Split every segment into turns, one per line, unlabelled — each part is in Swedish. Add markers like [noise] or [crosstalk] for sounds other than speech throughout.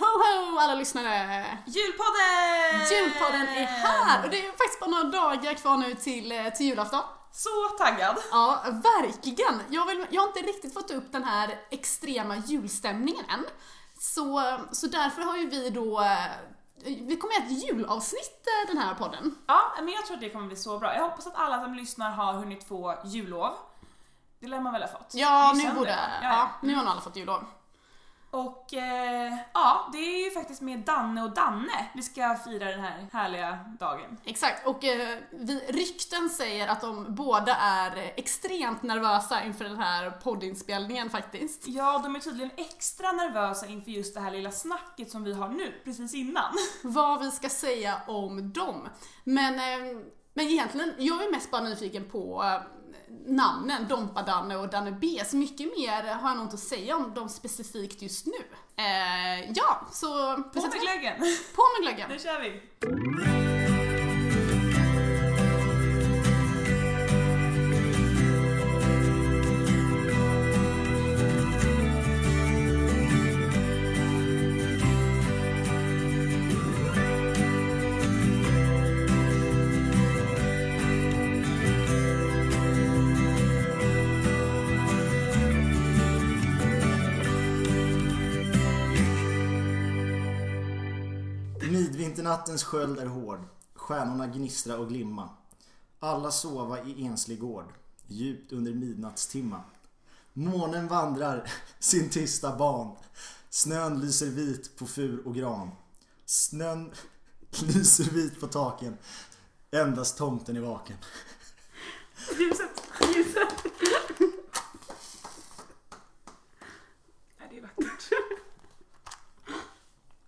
Hello alla lyssnare!
Julpodden!
Julpodden är här och det är faktiskt bara några dagar kvar nu till, eh, till julafton.
Så taggad!
Ja, verkligen! Jag, vill, jag har inte riktigt fått upp den här extrema julstämningen än. Så, så därför har ju vi då eh, vi kommer att göra ett julavsnitt eh, den här podden.
Ja, men jag tror att det kommer bli så bra. Jag hoppas att alla som lyssnar har hunnit få jullov. Det lär man väl ha fått?
Ja,
Det är ju
nu
söndag.
borde...
Ja,
Ja,
ja.
nu har nog alla fått jullov.
Och eh, ja, det är ju faktiskt med Danne och Danne vi ska fira den här härliga dagen.
Exakt, och eh, vi, rykten säger att de båda är eh, extremt nervösa inför den här poddinspelningen faktiskt.
Ja, de är tydligen extra nervösa inför just det här lilla snacket som vi har nu,
[laughs]
precis innan.
Vad vi ska säga om dem. Men, eh, men egentligen, jag är mest bara nyfiken på eh, namnen Dompa-Danne och Danne B. Så mycket mer har jag nog inte att säga om dem specifikt just nu. Eh, ja, så
På med
[laughs]
glöggen!
på med glöggen!
Nu kör vi!
Midvinternattens sköld är hård. Stjärnorna gnistra och glimma. Alla sova i enslig gård. Djupt under midnattstimma. Månen vandrar [laughs] sin tysta ban. Snön lyser vit på fur och gran. Snön [laughs] lyser vit på taken. Endast tomten är vaken.
Ljuset! [laughs] Ljuset! Nej, det är vackert.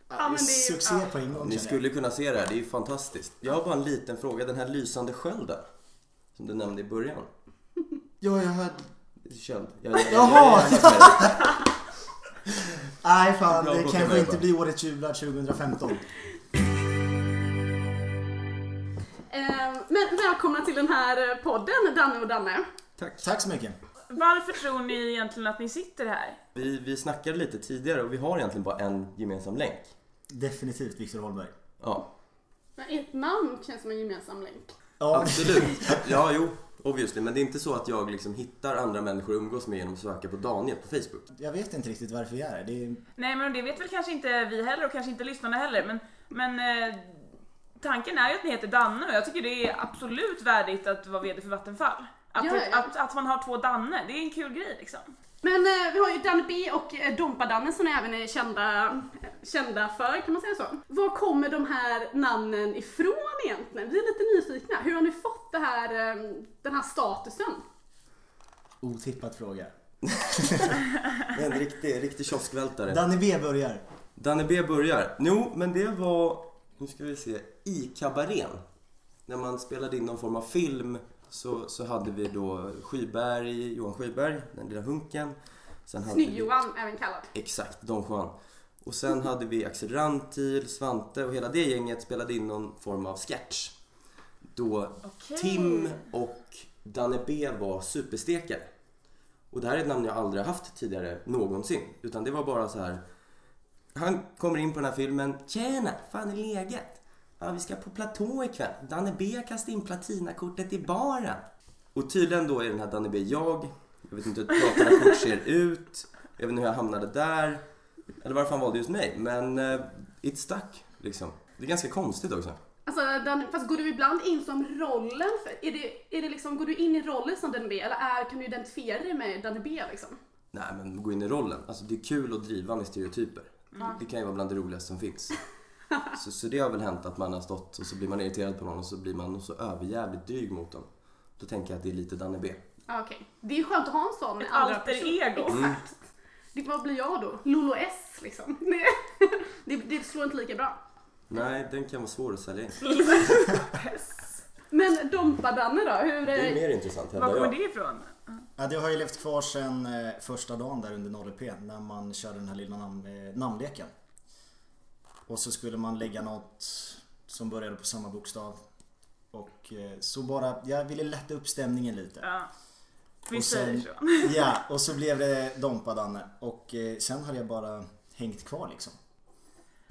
Ja, men det är ju-
Succé
ja.
på en gång
Ni
känner jag.
skulle kunna se det här, det är ju fantastiskt. Jag har bara en liten fråga, den här lysande skölden som du nämnde i början.
Ja, jag hörde...
Köld. Jag, jag, jag,
Jaha!
jag, jag, jag,
Nej fan,
Bra
det
kock,
kanske
jag
inte
bara.
blir årets jular 2015.
Eh, men välkomna till den här eh, podden Danne och Danne.
Tack.
Tack så mycket.
Varför tror ni egentligen att ni sitter här?
Vi, vi snackade lite tidigare och vi har egentligen bara en gemensam länk.
Definitivt Viktor Holmberg.
Ja,
Men Ert namn känns som en gemensam länk.
Ja,
absolut. Ja, jo, obviously. Men det är inte så att jag liksom hittar andra människor att umgås med genom att söka på Daniel på Facebook.
jag vet inte riktigt varför vi är här. Det är
Nej men det vet väl kanske inte vi heller och kanske inte lyssnarna heller men, men eh, tanken är ju att ni heter Danne och jag tycker det är absolut värdigt att vara VD för Vattenfall. Att,
Ja, ja.
Att, att man har två Danne, det är en kul grej liksom.
[laughs]
Men eh, vi har ju Danne B och eh, Dompa-Danne som ni även är kända, kända för, kan man säga så? Var kommer de här namnen ifrån egentligen? Vi är lite nyfikna. Hur har ni fått det här, eh, den här statusen?
otippat fråga.
Det är En riktig, riktig kioskvältare.
Danny B börjar.
Danne B börjar. Jo, men det var, nu ska vi se, i kabarén. När man spelade in någon form av film så, så hade vi då Skyberg, Johan Skyberg, den lilla hunken. Sen hade vi-
Snygg-Johan, även kallad.
Exakt, Don Juan. Och sen hade vi Axel Rantil, Svante och hela det gänget spelade in någon form av sketch. Då
Okej.
Tim och Danne B var superstekare. Och det här är ett namn jag aldrig har haft tidigare någonsin. Utan det var bara så här. Han kommer in på den här filmen. Tjena, fan är läget? Ja, vi ska på platå ikväll. Danne B kastar in platinakortet i baren. Och tydligen då är den här Danne B jag. Jag vet inte hur ett platinakort ser ut. Jag vet inte hur jag hamnade där. Eller varför han valde just mig. Men uh, it stuck liksom. Det är ganska konstigt också.
Alltså, Danne, fast går du ibland in som rollen? För, är det, är det liksom, går du in i rollen som Danne B eller är, kan du identifiera dig med Danne B liksom?
Nej men gå in i rollen. Alltså det är kul att driva med stereotyper. Det kan ju vara bland det roligaste som finns. Så, så det har väl hänt att man har stått och så blir man irriterad på någon och så blir man så överjävligt dryg mot dem. Då tänker jag att det är lite Danne B.
Ah, Okej. Det är skönt att ha en sån.
Ett
andra
alter
person.
ego.
Mm.
Exakt. Det, vad blir jag då? Lolo S liksom. [laughs] det, det slår inte lika bra.
Nej, den kan vara svår att sälja in.
Men Dompa-Danne då? Hur
Det är
är...
mer intressant
Var
hävdar
kommer
jag.
det ifrån?
Ja, det har ju levt kvar sedan eh, första dagen där under 0EP när man körde den här lilla namn, eh, namnleken. Och så skulle man lägga något som började på samma bokstav. Och eh, så bara, jag ville lätta upp stämningen lite.
Ja. Vi
Och
säger
sen-
så.
[laughs] Ja, och så blev det Dompa-Danne. Och eh, sen hade jag bara hängt kvar liksom.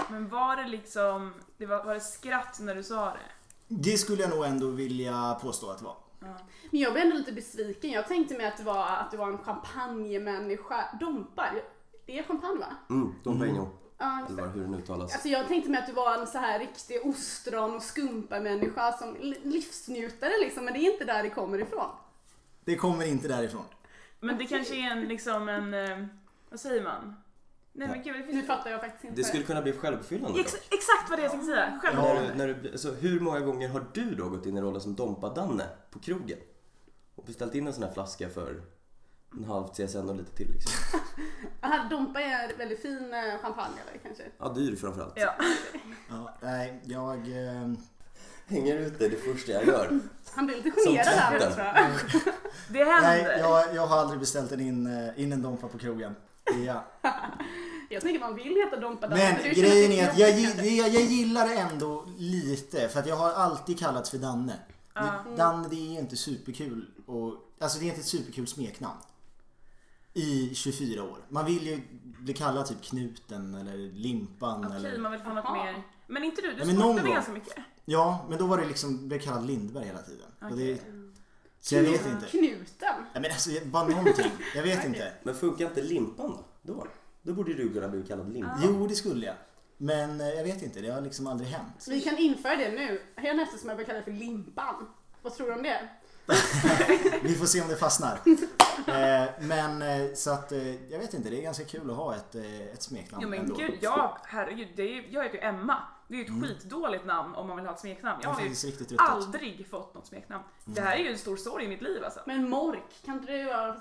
Men var det liksom, det var, var det skratt när du sa det?
Det skulle jag nog ändå vilja påstå att det var.
Men jag blev ändå lite besviken. Jag tänkte mig att det var, att det var en champagnemänniska. Dompa, det är champagne va?
Mm, Don Pérignon.
Ja, just
Eller
det.
hur den uttalas.
Alltså jag tänkte mig att det var en så här riktig ostron och skumpa-människa som li- livsnjutare liksom, men det är inte där det kommer ifrån.
Det kommer inte därifrån.
Men det kanske är en liksom en, eh, vad säger man? Nej men gud, det
Nu
finns
fattar jag faktiskt inte.
Det skulle kunna bli självuppfyllande.
Ex, Exakt vad det är jag tänkte säga,
dock. När, du-
självförtroende.
när du, alltså, hur många gånger har du då gått in i rollen som Dompa-Danne på krogen? Och beställt in en sån här flaska för en halv CSN och lite till liksom.
Aha, Dompa är väldigt fin eh, champagne eller kanske?
Ja, dyr framförallt.
Ja.
Ja, nej, jag... Eh,
Hänger ut dig det första jag gör.
Han blir lite
Som
generad där
tvätten.
tror jag.
Det
nej,
händer.
jag, jag har aldrig beställt en in, eh, in en Dompa på krogen. Ja.
Jag tänker man vill heta Dompa där,
Men
det känns
grejen
lite
är att jag,
jobbigt,
gi-
kanske.
jag, jag gillar det ändå lite för att jag har alltid kallats för Danne. Men Danne det är inte superkul och, alltså det är inte ett superkul smeknamn. I 24 år. Man vill ju bli kallad typ Knuten eller Limpan
Okej,
eller...
man vill få något
Jaha.
mer. Men inte du, du
Ja, men någon
sportade
gång.
ganska mycket.
Ja, men då var det liksom, blev kallad Lindberg hela tiden. Och det,
Okej.
så jag vet inte.
Knuten.
Nej men alltså jag- bara någonting. Jag vet inte.
Men funkar inte Limpan då? Då, då borde du kunna bli kallad Limpan.
Jo, det skulle jag. Men eh, jag vet inte, det har liksom aldrig hänt.
Vi kan införa det nu. Härnäst som jag börjar kalla det för Limpan. Vad tror du om det?
Vi får se om
[laughs]
det fastnar. Eh, men eh, så att eh, jag vet inte, det är ganska kul att ha ett, eh, ett smeknamn
Jo men
ändå.
gud, jag, herregud, det är, ju- jag heter ju Emma. Det är ju ett skitdåligt namn om man vill ha ett smeknamn. Jag
Det är
har ju
faktiskt riktigt ruttet.
aldrig fått något smeknamn. Det här är ju en stor sorg i mitt liv alltså.
Men Mork, kan inte du göra...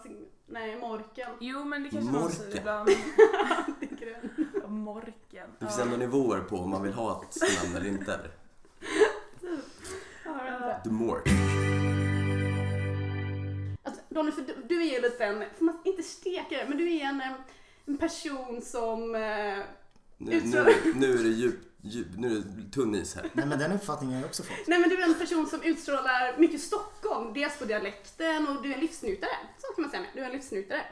Nej, Morken. [laughs]
Jo men det kanske man säger
Morken.
ibland.
Tänker du?
Morken.
Det finns ändå nivåer på om man vill ha ett namn eller inte. eller?
Ja, jag vet inte.
The more.
Alltså, Donny, för du, du är ju lite en, får man inte stekare, men du är en, eh, en person som... eh,
Nu, nu, nu är det djup, djup, nu är det tunn is här.
Nej men den uppfattningen har jag också fått.
Nej men du är en person som utstrålar mycket Stockholm, dels på dialekten och du är en livsnjutare. Så kan man säga nu, du är en livsnjutare.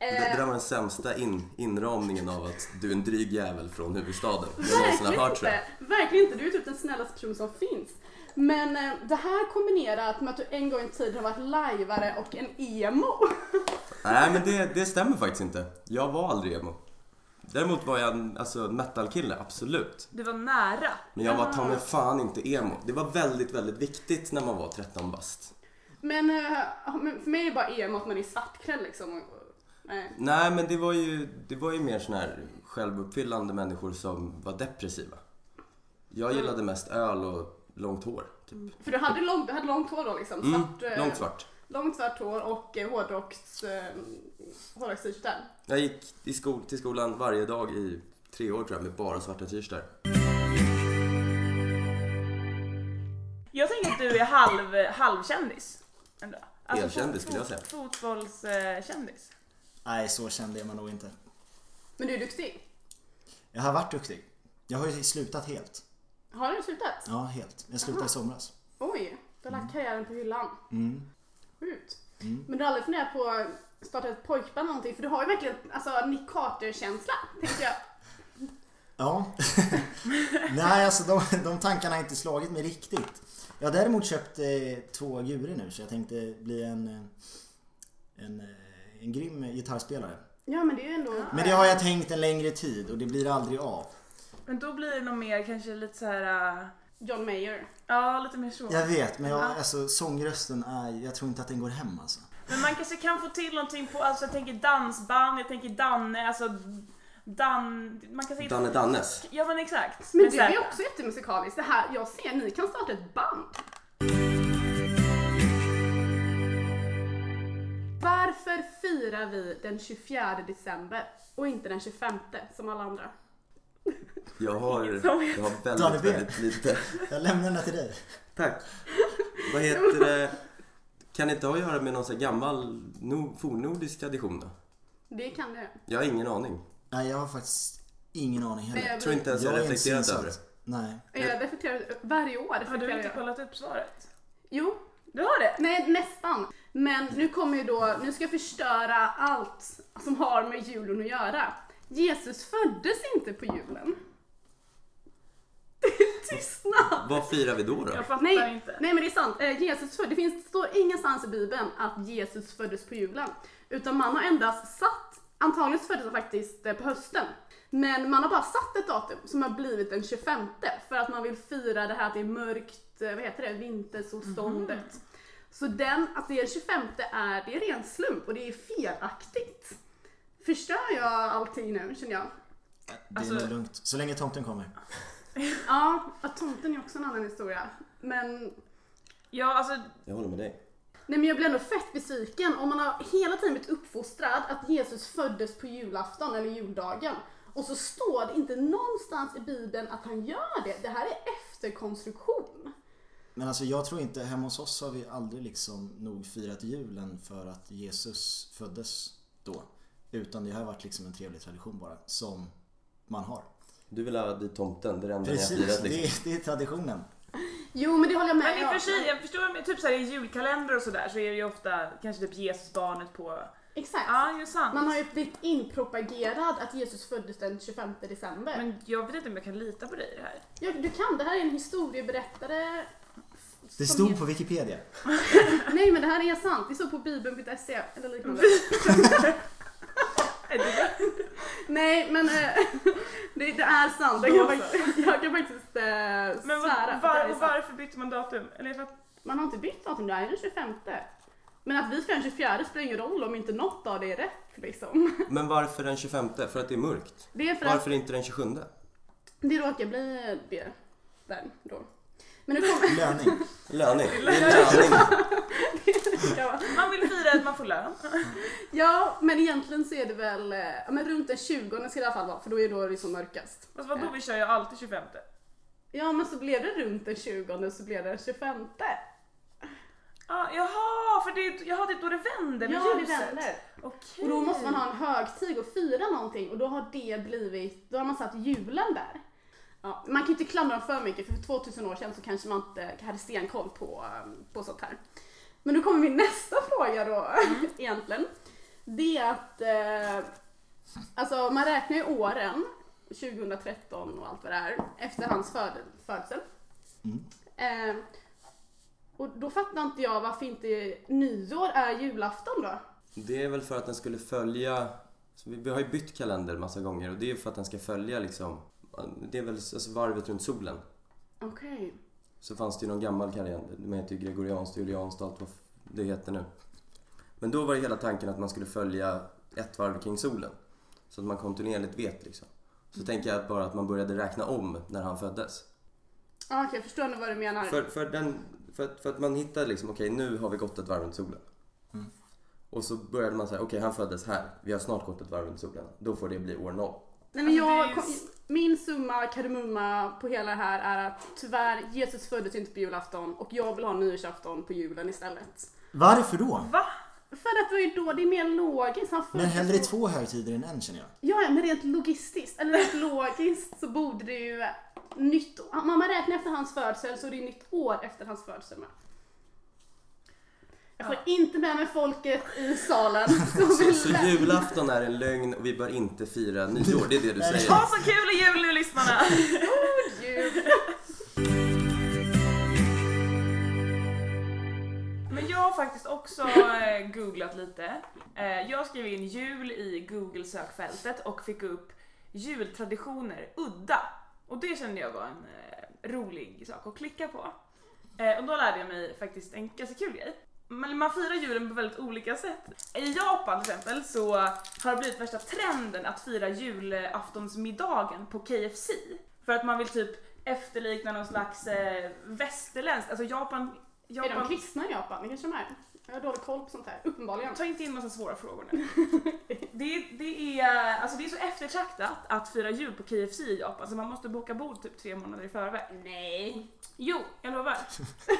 Eh,
Det, det där var den sämsta in, inramningen av att du är en dryg jävel från huvudstaden. Jag någonsin har hört tror jag.
inte, verkligen inte. Du är typ den snällaste person som finns. Men eh, det här kombinerat med att du en gång i tiden har varit lajvare och en emo. [laughs]
Nej men det, det stämmer faktiskt inte. Jag var aldrig emo. Däremot var jag en alltså, metalkille, absolut.
Du var nära.
Men jag var ta
Ah.
mig fan inte emo. Det var väldigt, väldigt viktigt när man var 13 bast.
Men eh, men för mig är det bara emo att man är svartklädd liksom. Och, och, nej.
Nej men det var ju, det var ju mer sån här självuppfyllande människor som var depressiva. Jag
Mm.
gillade mest öl och långt hår. Typ.
För du hade, lång, du hade långt hår då liksom?
Mm,
Mm, svart, eh,
långt svart.
Långt svart hår och eh, hårdrocks... Eh, hårdrockst
Jag gick i skol, till skolan varje dag i tre år tror jag med bara svarta t-shirtar.
Jag tänker att du är halv, halvkändis. Ändå. Alltså, fot-
Helkändis, skulle jag säga.
fot- Fotbollskändis.
Nej, så känd är man nog inte.
Men du är duktig.
Jag har varit duktig. Jag har ju slutat helt.
Har du slutat?
Ja, helt. Jag slutade i somras. Mm.
Oj, du har lagt karriären på hyllan. Sjukt. Men du har aldrig funderat på att starta ett pojkband eller någonting? För du har ju verkligen alltså, Nick Carter-känsla, tänker jag.
Ja. [laughs] Nej, alltså de, de tankarna har inte slagit mig riktigt. Jag har däremot köpt eh, två gurer nu så jag tänkte bli en, eh, en, eh, en grym gitarrspelare.
Ja, men det är ju ändå...
Men det har jag tänkt en längre tid och det blir aldrig av.
Men då blir det nog mer kanske lite så här. äh,
John Mayer.
Ja, lite mer så.
Jag vet, men jag, alltså, sångrösten är... Jag tror inte att den går hem alltså.
Men man kanske kan få till någonting på, alltså jag tänker dansband, jag tänker Danne, alltså Dan... Man kan säga...
Danne Dannes.
Ja men exakt.
Men
Med
du är ju
Z.
också jättemusikalisk. Det här, jag ser, ni kan starta ett band. Varför firar vi den 24 december och inte den 25 som alla andra?
Jag
[laughs]
har, jag har
Danne
väldigt,
B.
väldigt lite.
Jag lämnar den till dig.
Tack. Vad heter det? Kan inte ha att göra med någon sån här gammal no, fornnordisk tradition då?
Det kan det.
Jag har ingen aning.
Nej, jag har faktiskt ingen aning heller.
Jag tror inte ens jag har
är inte
reflekterat
synsatt.
över det.
Nej.
Jag reflekterar varje år.
Har du
reflekterar
inte
jag.
kollat upp svaret?
Jo,
Du har det?
nej nästan. Men nu kommer ju då, nu ska jag förstöra allt som har med julen [laughs] att göra. Jesus föddes inte på julen. Tystnad!
Vad firar vi då då?
Jag fattar
Nej,
inte.
nej men det är sant. Eh, Jesus född, det finns, står ingenstans i Bibeln att Jesus föddes på julen. Utan man har endast satt, antagligen så föddes han faktiskt eh, på hösten. Men man har bara satt ett datum som har blivit den 25 för att man vill fira det här att det är mörkt, eh, vad heter det, vintersolståndet.
Mhm.
Så den, att det är den 25 är, det är ren slump och det är felaktigt. Förstör jag allting nu känner jag?
Det är
Alltså-
nog lugnt. Så länge tomten kommer.
Ja, att tomten är också en annan historia. Men
Ja, alltså,
Jag håller med dig.
Nej men jag blir ändå fett besviken om man har hela tiden blivit uppfostrad att Jesus föddes på julafton eller juldagen. Och så står det inte någonstans i bibeln att han gör det. Det här är efterkonstruktion.
Men alltså jag tror inte, hemma hos oss har vi aldrig liksom nog firat julen för att Jesus föddes då. Utan det har varit liksom en trevlig tradition bara, som man har.
Du vill ha dit tomten, det är det enda ni har
Precis,
firat
det
liksom.
är, det är traditionen.
Jo men det håller jag med
men i och för sig, jag förstår med typ så här, i julkalender och sådär så är det ju ofta kanske typ Jesusbarnet på...
Exakt.
Ja, det är sant.
Man har ju blivit inpropagerad att Jesus föddes den 25 december.
Men jag vet inte om jag kan lita på dig i det här.
Ja, du kan, det här är en historieberättare. som
Det stod
heter-
på Wikipedia.
Nej men det här är sant, det stod på bibeln.se E eller liknande.
Är det-
Nej men eh, [laughs] det, det är sant. Jag kan faktiskt, jag kan faktiskt eh,
Men vad,
svära att det
var,
är
och
sant.
varför bytte man datum? Eller för att,
Man har inte bytt datum, det här är den 25. Men att vi ska den 24 spelar ingen roll om inte något av det är rätt liksom.
Men varför den 25? För att det är mörkt?
Det är för att
Varför inte den 27?
det råkar bli det där då. Men nu kommer [laughs]
Löning.
Löning. [laughs] Det är löning.
jag.
man vill fira att man får lön.
Ja, men egentligen så är det väl eh, ja, men runt den 20 ska det i alla fall vara för då är då det som mörkast.
Fast vadå, vi kör ju alltid 25.
Ja, men så blev det runt den 20 så blev det den 25.
Ah, jaha, för det, jaha, det är då det vänder med
Ja, det
ljuset.
vänder.
Okej.
Och då måste man ha en högtid och fira någonting och då har det blivit, då har man satt julen där. Ja, man kan ju inte klandra dem för mycket för för 2000 år sedan så kanske man inte hade stenkoll på, um, på sånt här. Men nu kommer min [laughs] nästa fråga då egentligen. Det är att, eh, alltså man räknar ju åren, 2013 och allt vad det är, efter hans föd- födsel. Eh,
Mm.
och då fattar inte jag varför inte nyår är julafton då?
Det är väl för att den skulle följa... så Vi vi har ju bytt kalender massa gånger och det är för att den ska följa liksom... Det är väl alltså, varvet runt solen.
Okej.
Så fanns det ju någon gammal kalender med heter ju gregorianskt och julianskt och allt vad det heter nu. Men då var ju hela tanken att man skulle följa ett varv kring solen. Så att man kontinuerligt vet liksom. Så tänker jag bara att man började räkna om när han föddes.
Ja, Okej, jag förstår nu vad du menar.
För, för, den, för, att- för att man hittade liksom, okej nu har vi gått ett varv runt solen. Och så började man säga, okej han föddes här, vi har snart gått ett varv runt solen. Då får det bli år noll.
Nej, men jag,
Alltså, Det är
min summa kardemumma på hela det här är att tyvärr, Jesus föddes inte på julafton och jag vill ha nyårsafton på julen istället.
Varför då?
Va?
För att det var ju då, det är mer logiskt. Han
Men
föddes
hellre
då.
två högtider än en känner jag.
Ja, ja, men rent logistiskt, eller rent logiskt så borde det ju nytt år. Om man räknar efter hans födsel så är det ju nytt år efter hans födsel med. Jag får inte med mig folket i
[laughs]
salen som
Så, så
vill...
julafton är en lögn och vi bör inte fira nyår, det är det du säger.
Ha så kul i jul nu lyssnarna!
Jul.
Men jag har faktiskt också eh, googlat lite. Eh, jag skrev in jul i Google sökfältet och fick upp jultraditioner udda. Och det kände jag var en eh, rolig sak att klicka på. Eh, och då lärde jag mig faktiskt en ganska kul grej. Men man firar julen på väldigt olika sätt. I Japan till exempel så har det blivit värsta trenden att fira julaftonsmiddagen på KFC. För att man vill typ efterlikna någon slags eh, västerländsk, alltså Japan...
Är de
Japan
kristna i Japan? Det kanske de är. Jag har dålig koll på sånt här, uppenbarligen.
Ta inte in massa svåra frågor nu.
[laughs]
Det, det, är, alltså det är så eftertraktat att fira jul på KFC i Japan så man måste boka bord typ tre månader i förväg.
Nej.
Jo, jag lovar.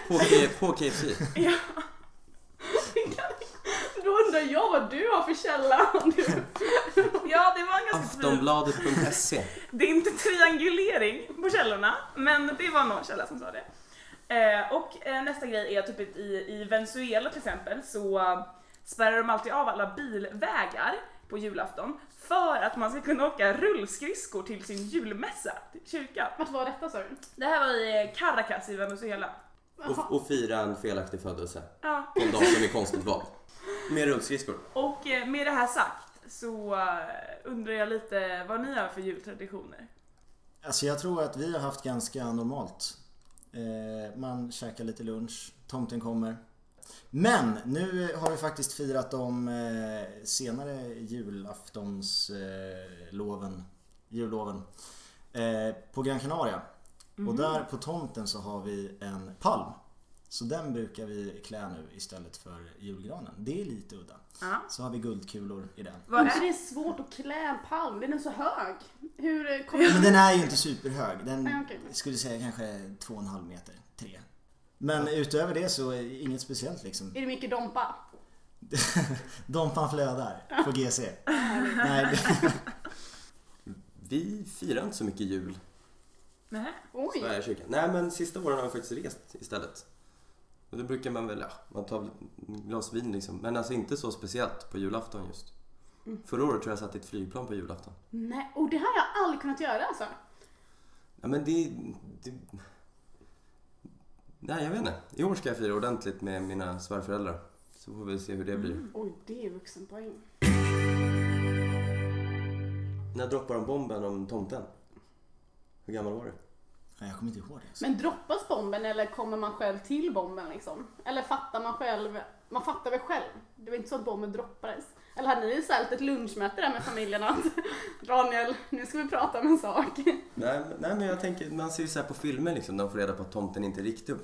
På, K- på KFC.
Då undrar jag vad du har för källa. om du-
Ja, det var en ganska fin...
Aftonbladet.se.
Det är inte triangulering på källorna, men det var någon källa som sa det. Eh, och eh, nästa grej är typ i, i Venezuela till exempel så spärrar de alltid av alla bilvägar på julafton för att man ska kunna åka rullskridskor till sin julmässa, till kyrkan.
Vart var detta sa du?
Det här var i Caracas i Venezuela.
Och, och fira en felaktig födelse
Ja.
på en dag som är konstigt vald. Med rullskridskor.
Och eh, med det här sagt så eh, undrar jag lite vad ni har för jultraditioner.
Alltså jag tror att vi har haft ganska normalt. Eh, man käkar lite lunch, tomten kommer. Men nu har vi faktiskt firat de eh, senare julaftonsloven, eh, loven, julloven, eh, på Gran Canaria. Och där på tomten så har vi en palm. Så den brukar vi klä nu istället för julgranen. Det är lite udda.
Ja. Mm.
Så har vi guldkulor i den.
Vad
Inte
är
det är svårt att klä en palm, den är så hög. Hur eh, kommer
Men den är ju inte superhög.
Nej,
Den
okej.
skulle säga kanske 2,5 meter, 3. Men utöver det så är det inget speciellt
[laughs]
liksom.
Är det mycket Dompa?
Dompan flödar på GC. Nej, det- [laughs]
Vi firar inte så mycket jul
Nähä.
i
Oj!
Sverige kyrkan. Nej, men sista åren har jag faktiskt rest istället. Och då brukar man väl, ja, man tar väl ett glas vin liksom. Men alltså inte så speciellt på julafton just. Förra året tror jag satt i ett flygplan på julafton.
Nej, och det här har jag aldrig kunnat göra alltså.
Ja, men det, det... Nej, jag vet inte. I år ska jag fira ordentligt med mina svärföräldrar. Så får vi se hur det blir.
Oj, det är vuxenpoäng.
När droppar de bomben om tomten? Hur gammal var du?
Nej, jag kommer inte ihåg det. Alltså.
Men droppas bomben eller kommer man själv till bomben liksom? Eller fattar man själv? Man fattar väl själv? Det var inte så att bomben droppades. Eller hade ni så här ett lunchmöte där med familjen att [laughs] Daniel, nu ska vi prata om en sak.
Nej, men- nej, men jag tänker, man ser ju så här på filmer liksom, när de får reda på att tomten inte är riktig.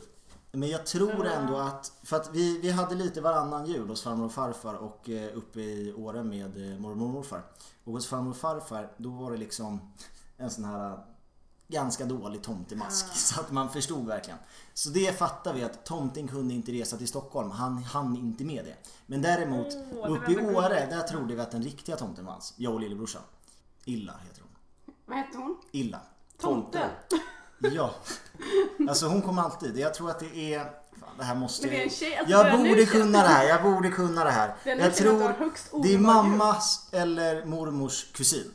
Men jag tror ändå att, för att vi, vi hade lite varannan jul hos farmor och farfar och eh, uppe i Åre med eh, mormor och morfar. Och hos farmor och farfar då var det liksom en sån här eh, ganska dålig tomtemask [laughs] så att man förstod verkligen. Så det fattar vi att tomten kunde inte resa till Stockholm, han hann inte med det. Men däremot
Mm, Åh, det
uppe i
var ändå
Åre,
gulligt.
där trodde vi att den riktiga tomten fanns. Jag och lillebrorsan. Illa heter hon.
Vad hette hon?
[laughs]
Illa.
Tomten?
Ja. Alltså hon kom alltid. Jag tror att det är... Fan, det här måste
Men det är en tjej, alltså
jag
börja nu,
borde
tjej.
kunna det här, jag borde kunna det här.
Den
jag
tjejen har
tror
högst
det är
onormal
mammas eller mormors kusin.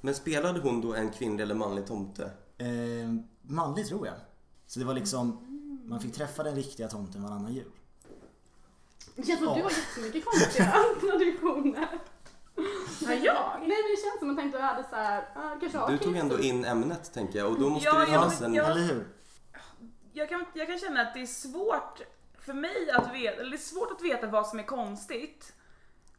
Men spelade hon då en kvinnlig eller manlig tomte?
Eh, manlig tror jag. Så det var liksom, man fick träffa den riktiga tomten varannan jul.
Jaså, du
Ja.
har jättemycket
[laughs]
konstiga traditioner.
Ja, jag?
Nej men det känns som att jag tänkte att jag hade såhär, ah, kanske har
Du tog ändå
Kristus.
in ämnet, tänker jag, och då måste
Ja,
det
ja,
finnas
men
en...
jag-
Eller hur?
jag kan, jag kan känna att det är svårt för mig att veta, eller det är svårt att veta vad som är konstigt.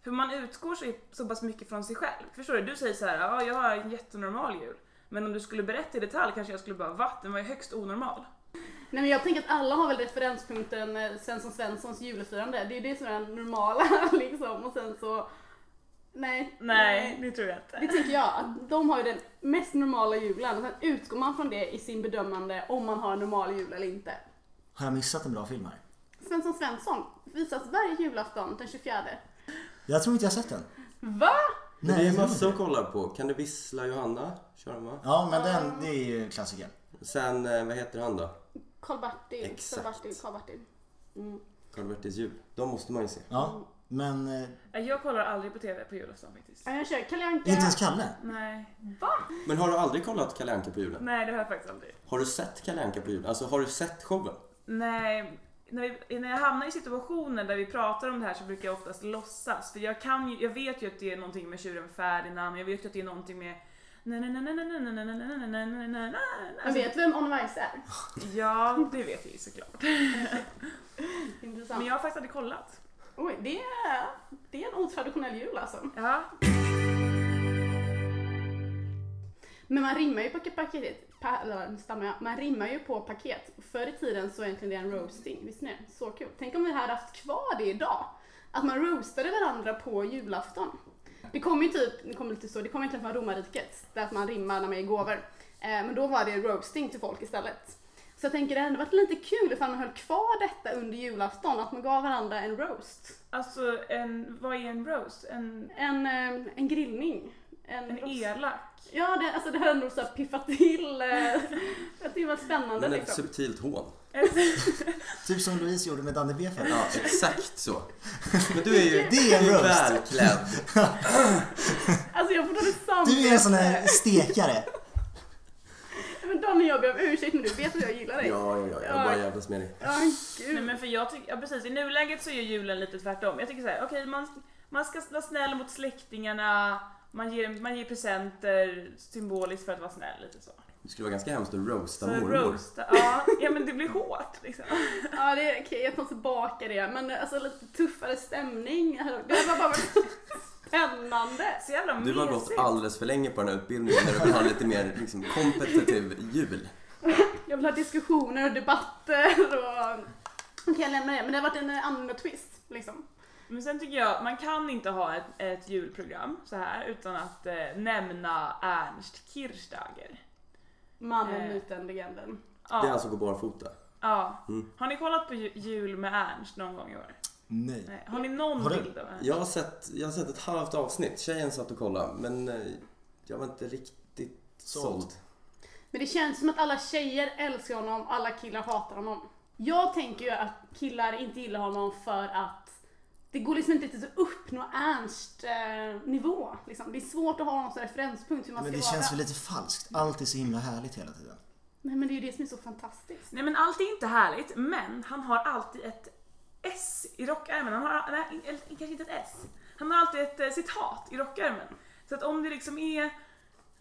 För man utgår så, så pass mycket från sig själv. Förstår du? Du säger så här, ja jag har en jättenormal jul. Men om du skulle berätta i detalj kanske jag skulle bara, va? Den var ju högst onormal.
Nej men jag tänker att alla har väl referenspunkten eh, Svensson Svenssons julfirande. Det är ju det som är den normala [laughs] liksom och sen så, nej.
Nej, det tror jag
Det
inte.
tänker jag, att de har ju den mest normala julen. Sen utgår man från det i sin bedömande om man har en normal jul eller inte.
Har jag missat en bra film här?
Svensson Svensson visas varje julafton den 24.
Jag tror inte jag har sett den.
Va?
Men det
jag
är
tror
massor
inte
att kolla på. Kan du vissla Johanna? Kör den va?
Ja men den, det är ju klassikern.
Sen, eh, vad heter han då?
Karl-Bertil,
Exakt.
Karl-Bertil, Karl-Bertil.
Karl-Bertils jul. De måste man ju se.
Ja, men eh,
Nej, Jag kollar aldrig på TV på julafton faktiskt.
Ja, jag kör Kalle Anka.
inte ens Kalle.
Nej.
Men har du aldrig kollat Kalle Anka på julen?
Nej, det har jag faktiskt aldrig.
Har du sett Kalle Anka på julen? Alltså, har du sett showen?
Nej, när, vi, när jag hamnar i situationer där vi pratar om det här så brukar jag oftast låtsas. För jag, kan ju, jag vet ju att det är någonting med tjuren Ferdinand, jag vet ju att det är någonting med
Men
Alltså,
vet vem On Vice är?
ja, det vet jag ju såklart.
Intressant.
Men jag har faktiskt aldrig kollat.
Oj, det är, det är en otraditionell jul alltså.
Ja.
Men man rimmar ju på paketet. Pa, eller, nu stammar jag. Man rimmar ju på paket. Förr i tiden så var egentligen det en roasting. Visst ni? Så kul. Tänk om vi hade haft kvar det idag. Att man roastade varandra på julafton. Det kom ju typ, det kom lite så, det kom egentligen från romarriket. Där att man rimmar när man ger gåvor. Eh, men då var det roasting till folk istället. Så jag tänker det hade varit lite kul ifall man höll kvar detta under julafton. Att man gav varandra en roast.
Alltså, en, vad är en roast? En,
En, eh, en grillning.
en
roast.
elak?
[laughs] Ja, det, alltså det har ändå så här piffat till. eh, att det var spännande
Men ett
liksom.
subtilt hån.
Typ som Louise gjorde med Danne B förut.
Ja, exakt så. Men du är ju,
Det är en
du är ju
roast.
välklädd.
Alltså jag får dåligt samvete.
Du är en sån här stekare.
Men Daniel jag ber om ursäkt men du vet att jag gillar dig.
Ja, ja, ja, jag bara jävlas med dig.
Ja, gud.
Nej, men för jag tycker, ja, precis, i nuläget så är ju julen lite tvärtom. Jag tycker så här, okej man, man ska vara snäll mot släktingarna, man ger, man ger presenter symboliskt för att vara snäll lite så.
Det skulle vara ganska hemskt att
Så
roasta mormor.
roasta, ja, ja men det blir hårt liksom.
Ja, det är okej, jag tar tillbaka det. Men alltså lite tuffare stämning. Det här var bara spännande.
Så jävla
Du har gått
mesigt.
alldeles för länge på den här utbildningen när du vill ha en lite mer liksom, kompetitiv jul.
Jag vill ha diskussioner och debatter och... Okej, jag lämnar det. Men det har varit en eh, annorlunda twist, liksom.
Men sen tycker jag, man kan inte ha ett, ett julprogram så här utan att eh, nämna Ernst Kirchsteiger.
Mannen,
Eh.
myten, legenden.
Ja,
Det är alltså gå barfota.
ja.
Mm.
Har ni kollat på ju- jul med Ernst någon gång i år?
Nej.
Nej. Har ni någon
Har du-
bild av Ernst?
Jag har, sett, jag har sett ett halvt avsnitt. Tjejen satt och kollade men eh, jag var inte riktigt
Såld.
såld.
Men det känns som att alla tjejer älskar honom och alla killar hatar honom. Jag tänker ju att killar inte gillar honom för att det går liksom inte riktigt att uppnå Ernst eh, nivå. Liksom. Det är svårt att ha någon sån referenspunkt hur man
Men
ska
det
vara.
känns väl lite falskt. Allt är så himla härligt hela tiden.
Nej men det är ju det som är så fantastiskt.
Nej men allt är inte härligt, men han har alltid ett S i rockärmen. Han har, nej, eller kanske inte ett S. Han har alltid ett eh, citat i rockärmen. Så att om det liksom är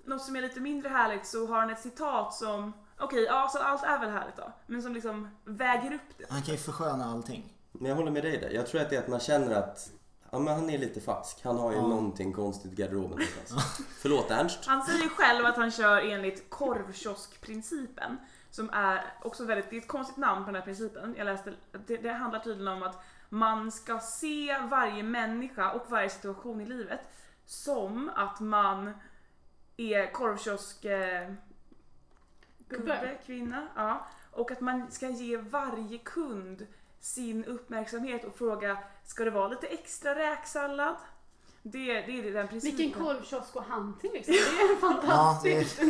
något som är lite mindre härligt så har han ett citat som, okej ja så allt är väl härligt då, men som liksom väger upp det.
Han kan ju försköna allting.
Men jag håller med dig där. Jag tror att det är att man känner att ja, men han är lite falsk. Han har ju någonting konstigt i garderoben [laughs] någonstans. Förlåt Ernst.
Han säger ju själv att han kör enligt korvkioskprincipen. Som är också väldigt, det är ett konstigt namn på den här principen. Jag läste, det, det handlar tydligen om att man ska se varje människa och varje situation i livet som att man är korvkiosk... Eh, gubbe, kvinna. Ja. Och att man ska ge varje kund sin uppmärksamhet och fråga ska det vara lite extra räksallad? Det, det är den principen.
Vilken korvkiosk och han till liksom. Det är
Ja, det är
fantastiskt.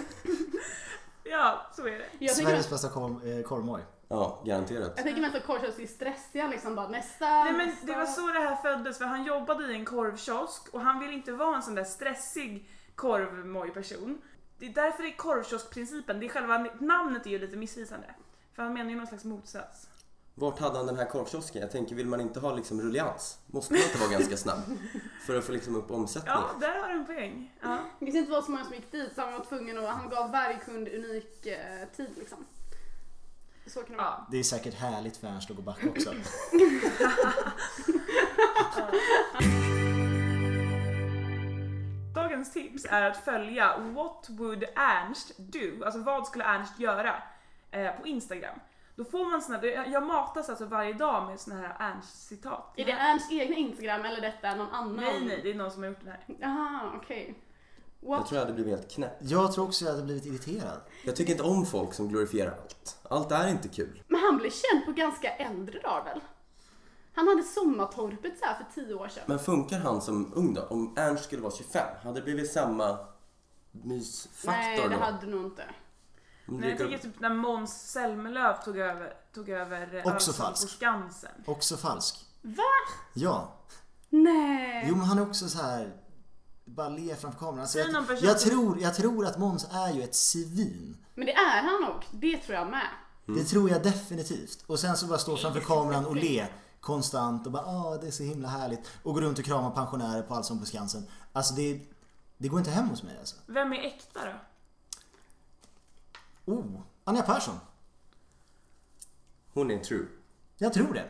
Ja, så är det.
Jag tänker,
Sveriges bästa korv, eh, korvmoj.
Ja, garanterat.
jag tänker mest att korvkiosk är stressiga liksom. Bara nästa,
Nej men
nästa.
det var så det här föddes för han jobbade i en korvkiosk och han ville inte vara en sån där stressig korvmoj-person. Det är därför det är korvkioskprincipen, det är själva namnet är ju lite missvisande. För han menar ju någon slags motsats.
Vart hade han den här korvkiosken? Jag tänker, vill man inte ha liksom rullians? Måste man inte vara ganska snabb?
[laughs]
För att få liksom upp omsättningen?
Ja, där har du en poäng. Ja.
Det visste inte vad så många som gick dit så han var tvungen att, han gav varje kund unik eh, tid liksom. Så kan det vara.
Ja.
Det är säkert härligt för Ernst att gå back också.
[laughs] Dagens tips är att följa What would Ernst do? Alltså vad skulle Ernst göra? Eh, på Instagram. Då får man såna, jag matas alltså varje dag med såna här Ernst-citat.
Är det Ernsts egna Instagram eller detta är någon annan?
Nej, nej, det är någon som har gjort den här.
Aha, okej.
Jag
What?
tror jag hade blivit helt knäpp.
Jag tror också jag hade blivit irriterad.
Jag tycker inte om folk som glorifierar allt. Allt är inte kul.
Men han blev känd på ganska äldre dagar väl? Han hade Sommartorpet så här för tio år sedan.
Men funkar han som ung då? Om Ernst skulle vara 25, hade det blivit samma
nej,
mysfaktor
det
då?
hade nog inte.
Om du
Nej, jag
dyker
tänker
upp-
typ när Måns Zelmerlöw tog över, tog över eh,
Också
Allsång
falskt.
på Skansen.
Också falsk.
Va?
Ja.
Nej.
Jo men han är också så här bara ler framför kameran. Alltså,
Säg någon
jag,
person
jag,
som-
tror, jag tror att Måns är ju ett svin.
Men det är han nog. Det tror jag med.
Det tror jag definitivt. Och sen så bara stå framför kameran och le konstant och bara ah det är så himla härligt. Och gå runt och krama pensionärer på Allsång på Skansen. Alltså det, det går inte hem hos mig alltså.
Vem är äkta då?
Oh, Anja Persson.
Hon är true.
Jag tror det.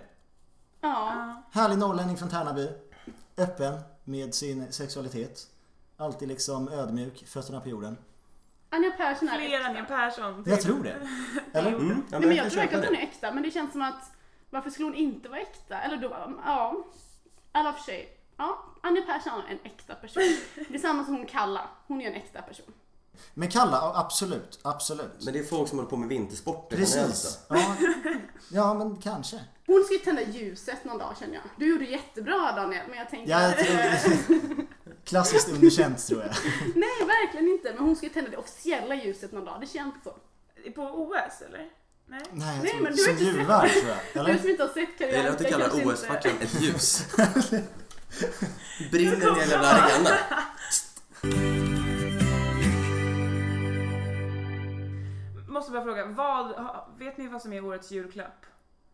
Ja.
Härlig norrlänning från Tärnaby. Öppen med sin sexualitet. Alltid liksom ödmjuk, fötterna på jorden.
Anja Persson är
Fler
äkta.
Anja Persson.
Jag tror det. Eller?
Mm, ja,
Nej men
kan
jag tror
köpa
verkligen att hon
det.
är äkta. Men det känns som att varför skulle hon inte vara äkta? Eller då, ja. Alla för sig. Ja, Anja Persson är en äkta person.
[laughs]
Det är samma som hon Kalla. Hon är en äkta person.
Men Kalla, ja, absolut. Absolut.
Men det är folk som håller på med vintersporter generellt, då.
Precis. Ja. ja, men kanske.
Hon ska ju tända ljuset någon dag känner jag. Du gjorde jättebra Daniel, men jag tänkte...
Ja, jag tror... Klassiskt underkänt tror jag.
Nej, verkligen inte. Men hon ska ju tända det officiella ljuset någon dag. Det känns så.
På OS eller? Nej.
Nej, jag
Nej,
tror
men du
som
är inte-
jular tror jag.
Du
Eller?
som inte har sett Karaoke
Eller att du kallar
kanske inte-
OS-fackan
[laughs]
ett ljus. Brinner en
[laughs]
jävla arena.
Måste bara fråga, vad, ha- vet ni vad som är årets julklapp?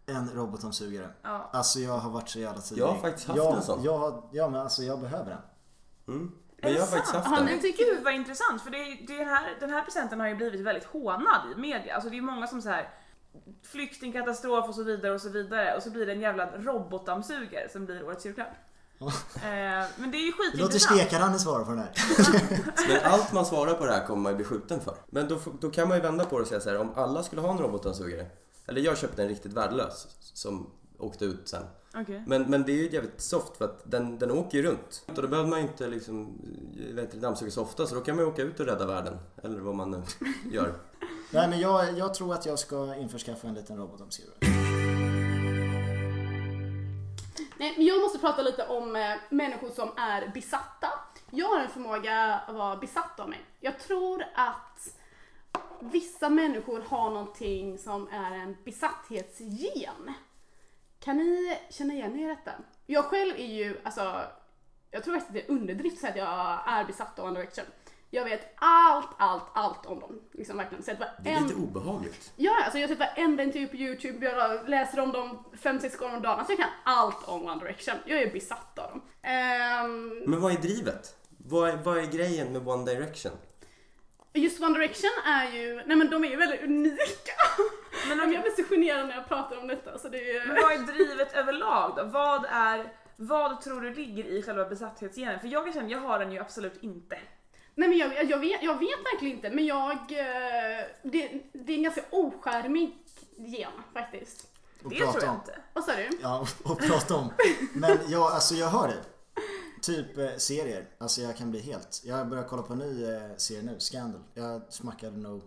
En robotdammsugare.
Ja.
Alltså jag har varit så jävla tidig.
Jag har faktiskt haft
jag,
en sån.
Jag, har- ja men alltså jag behöver den.
Mm. Men jag har faktiskt haft
Har
den.
ni tycker
Gud vad intressant för det, är- det är här, den här presenten har ju blivit väldigt hånad i media. Alltså det är många som så här flyktingkatastrof och så vidare och så vidare och så blir det en jävla robotdammsugare som blir årets julklapp. eh, men det är ju
Det låter
skitintressant.
stekaranden svara på den här.
[laughs] Men allt man svarar på det här kommer man ju bli skjuten för. Men då, f- då kan man ju vända på det och säga så här, om alla skulle ha en robotdammsugare. Eller jag köpte en riktigt värdelös som åkte ut sen.
Okej.
Men, men det är ju jävligt soft för att den, den åker ju runt. Och då behöver man ju inte liksom, vet, du, dammsuga så ofta så då kan man ju åka ut och rädda världen. Eller vad man nu [laughs] gör.
Nej men jag, jag tror att jag ska införskaffa en liten robotdammsugare.
Nej, men jag måste prata lite om eh, människor som är besatta. Jag har en förmåga att vara besatt av mig. Jag tror att vissa människor har någonting som är en besatthetsgen. Kan ni känna igen er i detta? Jag själv är ju, alltså, jag tror faktiskt att det är underdrift att säga att jag är besatt av One Direction. Jag vet allt, allt, allt om dem. Liksom verkligen. Sett
Det är
varenda
lite obehagligt.
Ja, alltså jag har sett varenda intervju på YouTube, jag läser om dem 5-6 gånger om dagen. Alltså jag kan allt om One Direction. Jag är besatt av dem. Ehm,
Men vad är drivet? Vad är, vad är grejen med One Direction?
just One Direction är ju, nej men de är ju väldigt unika.
Men,
Men
om,
jag blir så generad när jag pratar om detta så det är
men
ju...
vad är drivet överlag då? Vad, är, vad tror du ligger i själva besatthetsgenen? För jag kan känna, jag har den ju absolut inte.
Nej men jag, jag, vet, jag vet verkligen inte men jag, eh, det, det är en ganska ocharmig gen faktiskt.
Och
Det tror
prata
jag
om.
inte.
Vad sa du?
Ja, och, och prata om. Men jag, alltså jag hör det. Typ eh, serier. Alltså jag kan bli helt. Jag börjar kolla på en ny eh, serie nu, Scandal. Jag smackade nog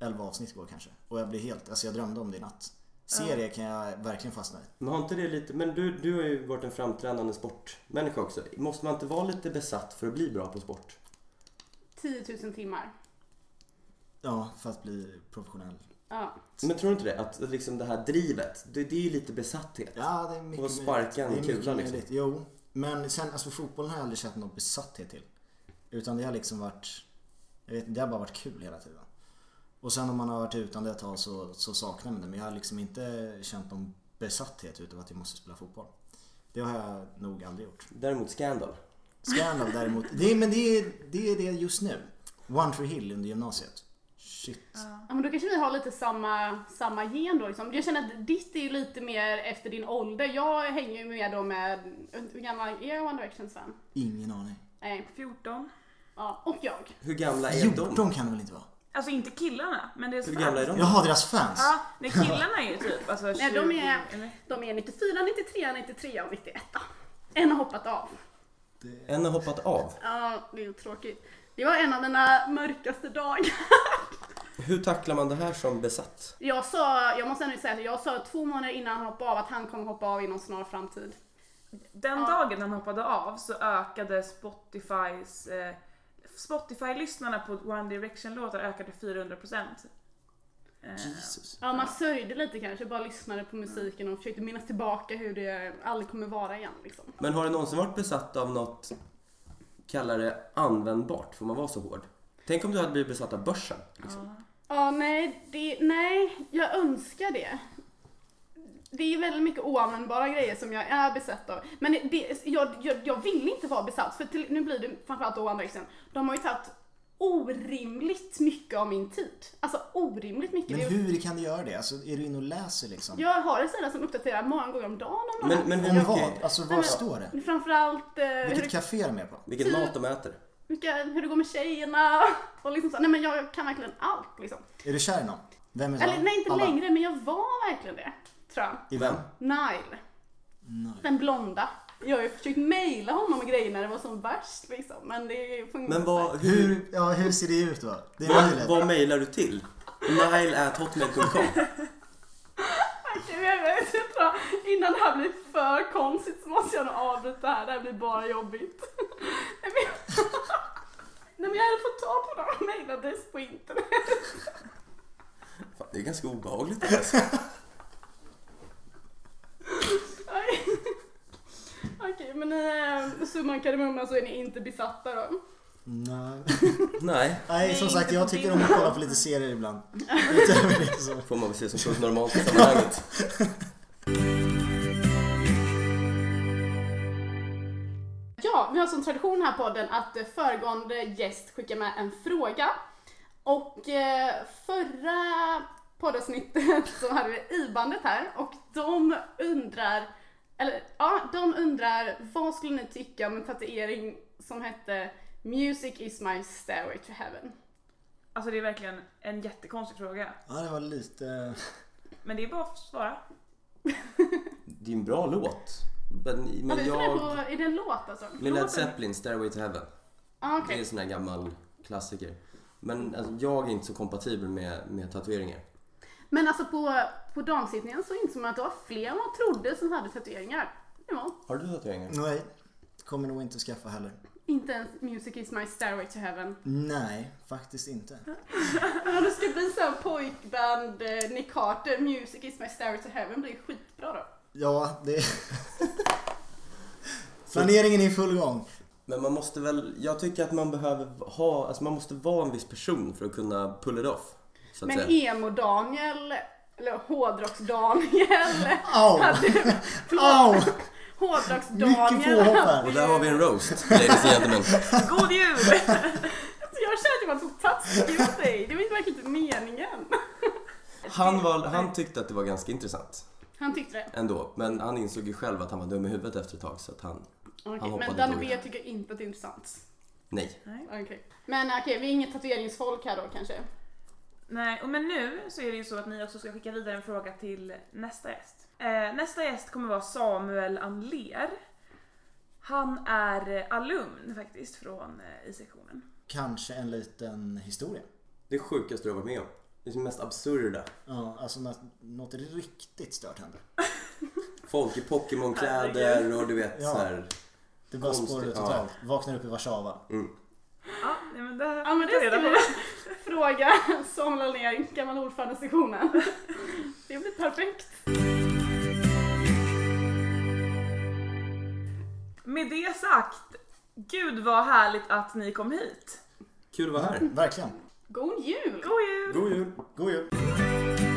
11 avsnitt igår kanske. Och jag blir helt, alltså jag drömde om det i natt. Serier kan jag verkligen fastna i.
Men har inte det lite, men du, du har ju varit en framträdande sportmänniska också. Måste man inte vara lite besatt för att bli bra på sport?
10 000 timmar.
Ja, för att bli professionell.
Ja.
Men tror du inte det? Att liksom det här drivet, det, det är ju lite besatthet.
Ja, det är mycket
Och sparka en
möjligt. Det är
kula,
mycket
liksom.
möjligt. Jo, men sen alltså fotbollen har jag aldrig känt någon besatthet till. Utan det har liksom varit, jag vet inte, det har bara varit kul hela tiden. Och sen om man har varit utan det ett tag så, så saknar man det. Men jag har liksom inte känt någon besatthet utav att jag måste spela fotboll. Det har jag nog aldrig gjort.
Däremot Scandal.
Scandal däremot, det, är- men det är, det är det just nu. One Tree Hill under gymnasiet. Shit.
Ja, men då kanske vi har lite samma, samma gen då. Liksom. Jag känner att ditt är ju lite mer efter din ålder. Jag hänger ju med då med, hur gammal är One Direction Sven?
Ingen aning.
Nej.
14.
Ja, och jag.
Hur gamla är de?
14 kan det väl inte vara?
Alltså inte killarna, men det är så
Hur gamla är de?
Jaha, deras fans?
Ja, nej killarna är ju typ alltså 20
Nej, de är,
eller?
de är 94, 93, 93 och 91. En har hoppat av.
En har hoppat av.
Ja, det är ju tråkigt. Det var en av mina mörkaste dagar.
Hur tacklar man det här som besatt?
Jag sa, jag måste ändå säga att jag sa två månader innan han hoppade av att han kommer hoppa av inom snar framtid.
Den dagen han hoppade av så ökade Spotifys eh, Spotify-lyssnarna på One Direction-låtar ökade 400%. Eh,
Jesus.
Ja, man sörjde lite kanske, bara lyssnade på musiken och försökte minnas tillbaka hur det aldrig kommer vara igen liksom.
Men har du någonsin varit besatt av något, kalla det användbart, får man vara så hård? Tänk om du hade blivit besatt av börsen. Liksom.
Ja, nej, det, nej, jag önskar det. Det är väldigt mycket oanvändbara grejer som jag är besatt av. Men det- det, jag, jag, jag vill inte vara besatt, för till, nu blir det framförallt One Direction. De har ju tagit orimligt mycket av min tid. Alltså orimligt mycket.
Men
Det-
hur kan du göra det? Alltså, är du inne och läser liksom?
Jag har en sida som uppdaterar många gånger om dagen om de
Men, men hur
Om vad?
mycket,
Alltså vad står det?
här. Framförallt eh, hur,
Vilket
det-
café är de är på?
vilket
Typ.
mat de äter.
vilka, hur det går med tjejerna och liksom så. Nej men jag kan verkligen allt liksom.
Är du kär i någon? Vem är
Eller
han?
nej, inte
Alla.
längre, men jag var verkligen det. Tror jag.
I vem?
Nile. Den blonda. Jag har ju försökt mejla honom med grejer när det var som värst liksom. Men det fungerar
Men vad, hur,
Hur, ja, hur ser det ut då? Det är
vad,
möjligt.
vad mejlar du till? Nile@hotmail.com.
inte. [laughs] Jag vet inte, tror jag. Innan det här blir för konstigt så måste jag nog avbryta här. Det här blir bara jobbigt. [laughs] Nej men jag, [laughs] [laughs] Nej, men jag hade fått ta på några mejladress på internet.
Fan, Det är ganska obehagligt alltså.
[laughs] Okej, men eh, summan kardemumma så är ni inte besatta då.
Nej.
Nej,
Nej, som
Nej,
sagt
inte
jag
på
tycker
film.
om att kolla på lite
[laughs]
serier ibland. Utöver det så.
får man väl se som fullt normalt i sammanhanget.
Ja, vi har som tradition här på podden att eh, föregående gäst skickar med en fråga. Och eh, förra poddavsnittet så hade vi IBandet här och de undrar, eller ja, de undrar vad skulle ni tycka om en tatuering som hette Music is my stairway to heaven?
Alltså det är verkligen en jättekonstig fråga.
Ja, det var lite...
Men det är bara att svara.
Det är en bra låt. Men,
Men
men
jag...
jag...
på, är det en låt alltså?
Med Led Zeppelin, Stairway to Heaven.
Ah,
Det är
okej.
en sån här gammal klassiker. Men alltså, jag är inte så kompatibel med, med tatueringar.
Men alltså på, på damsittningen så insåg man att det var fler än man trodde som hade tatueringar. Det var
Har du tatueringar?
Nej. Kommer nog inte skaffa heller.
inte ens Music is my stairway to heaven.
Nej, faktiskt inte.
Ja, det ska bli sån pojkband, eh, Nick Carter, Music is my stairway to heaven blir skitbra då.
Ja, det... [laughs] Planeringen är i full gång.
Men man måste väl... Jag tycker att man behöver ha... Alltså man måste vara en viss person för att kunna pull it off. Så att
Men
säga.
emo-Daniel, eller
[laughs]
hårdrocks-Daniel,
Au!
hade, förlåt,
Au! Mycket
hårdrocks-Daniel
påhopp
Och
här.
där har vi en roast, ladies and gentlemen.
God
[laughs]
jul!
Jag kände att man tog taskig mot dig, det var ju verkligen inte meningen.
Han, var, han tyckte att det var ganska intressant
Han tyckte det.
ändå. Men han insåg ju själv att han var dum i huvudet efter ett tag så att han...
Okej,
hoppade
men
inte
Danne
över.
B tycker inte att det är intressant.
Nej.
Okej. Men okej, vi är inget tatueringsfolk här då kanske.
Nej, och men nu så är det ju så att ni också ska skicka vidare en fråga till nästa gäst. Eh, nästa gäst kommer vara Samuel Anler. Han är eh, alumn faktiskt från eh, I-sektionen.
Kanske en liten historia.
Det sjukaste du har varit med om. Det är det mest absurda.
Ja, alltså när något riktigt stört händer.
Folk i Pokémon-kläder och du vet
Ja.
så här.
Det bara
Konstigt,
spårar ur
ja.
totalt. Vaknar upp i Warszawa.
Ja, nej, men det här
Ja men det
jag
ska vi [laughs] fråga Samuel Allén, gammal ordförande i sektionen. [laughs] Det blir perfekt.
Med det sagt, gud vad härligt att ni kom hit.
Mm.
Kul att vara här.
Verkligen.
God jul!
God jul!
God jul!
God jul.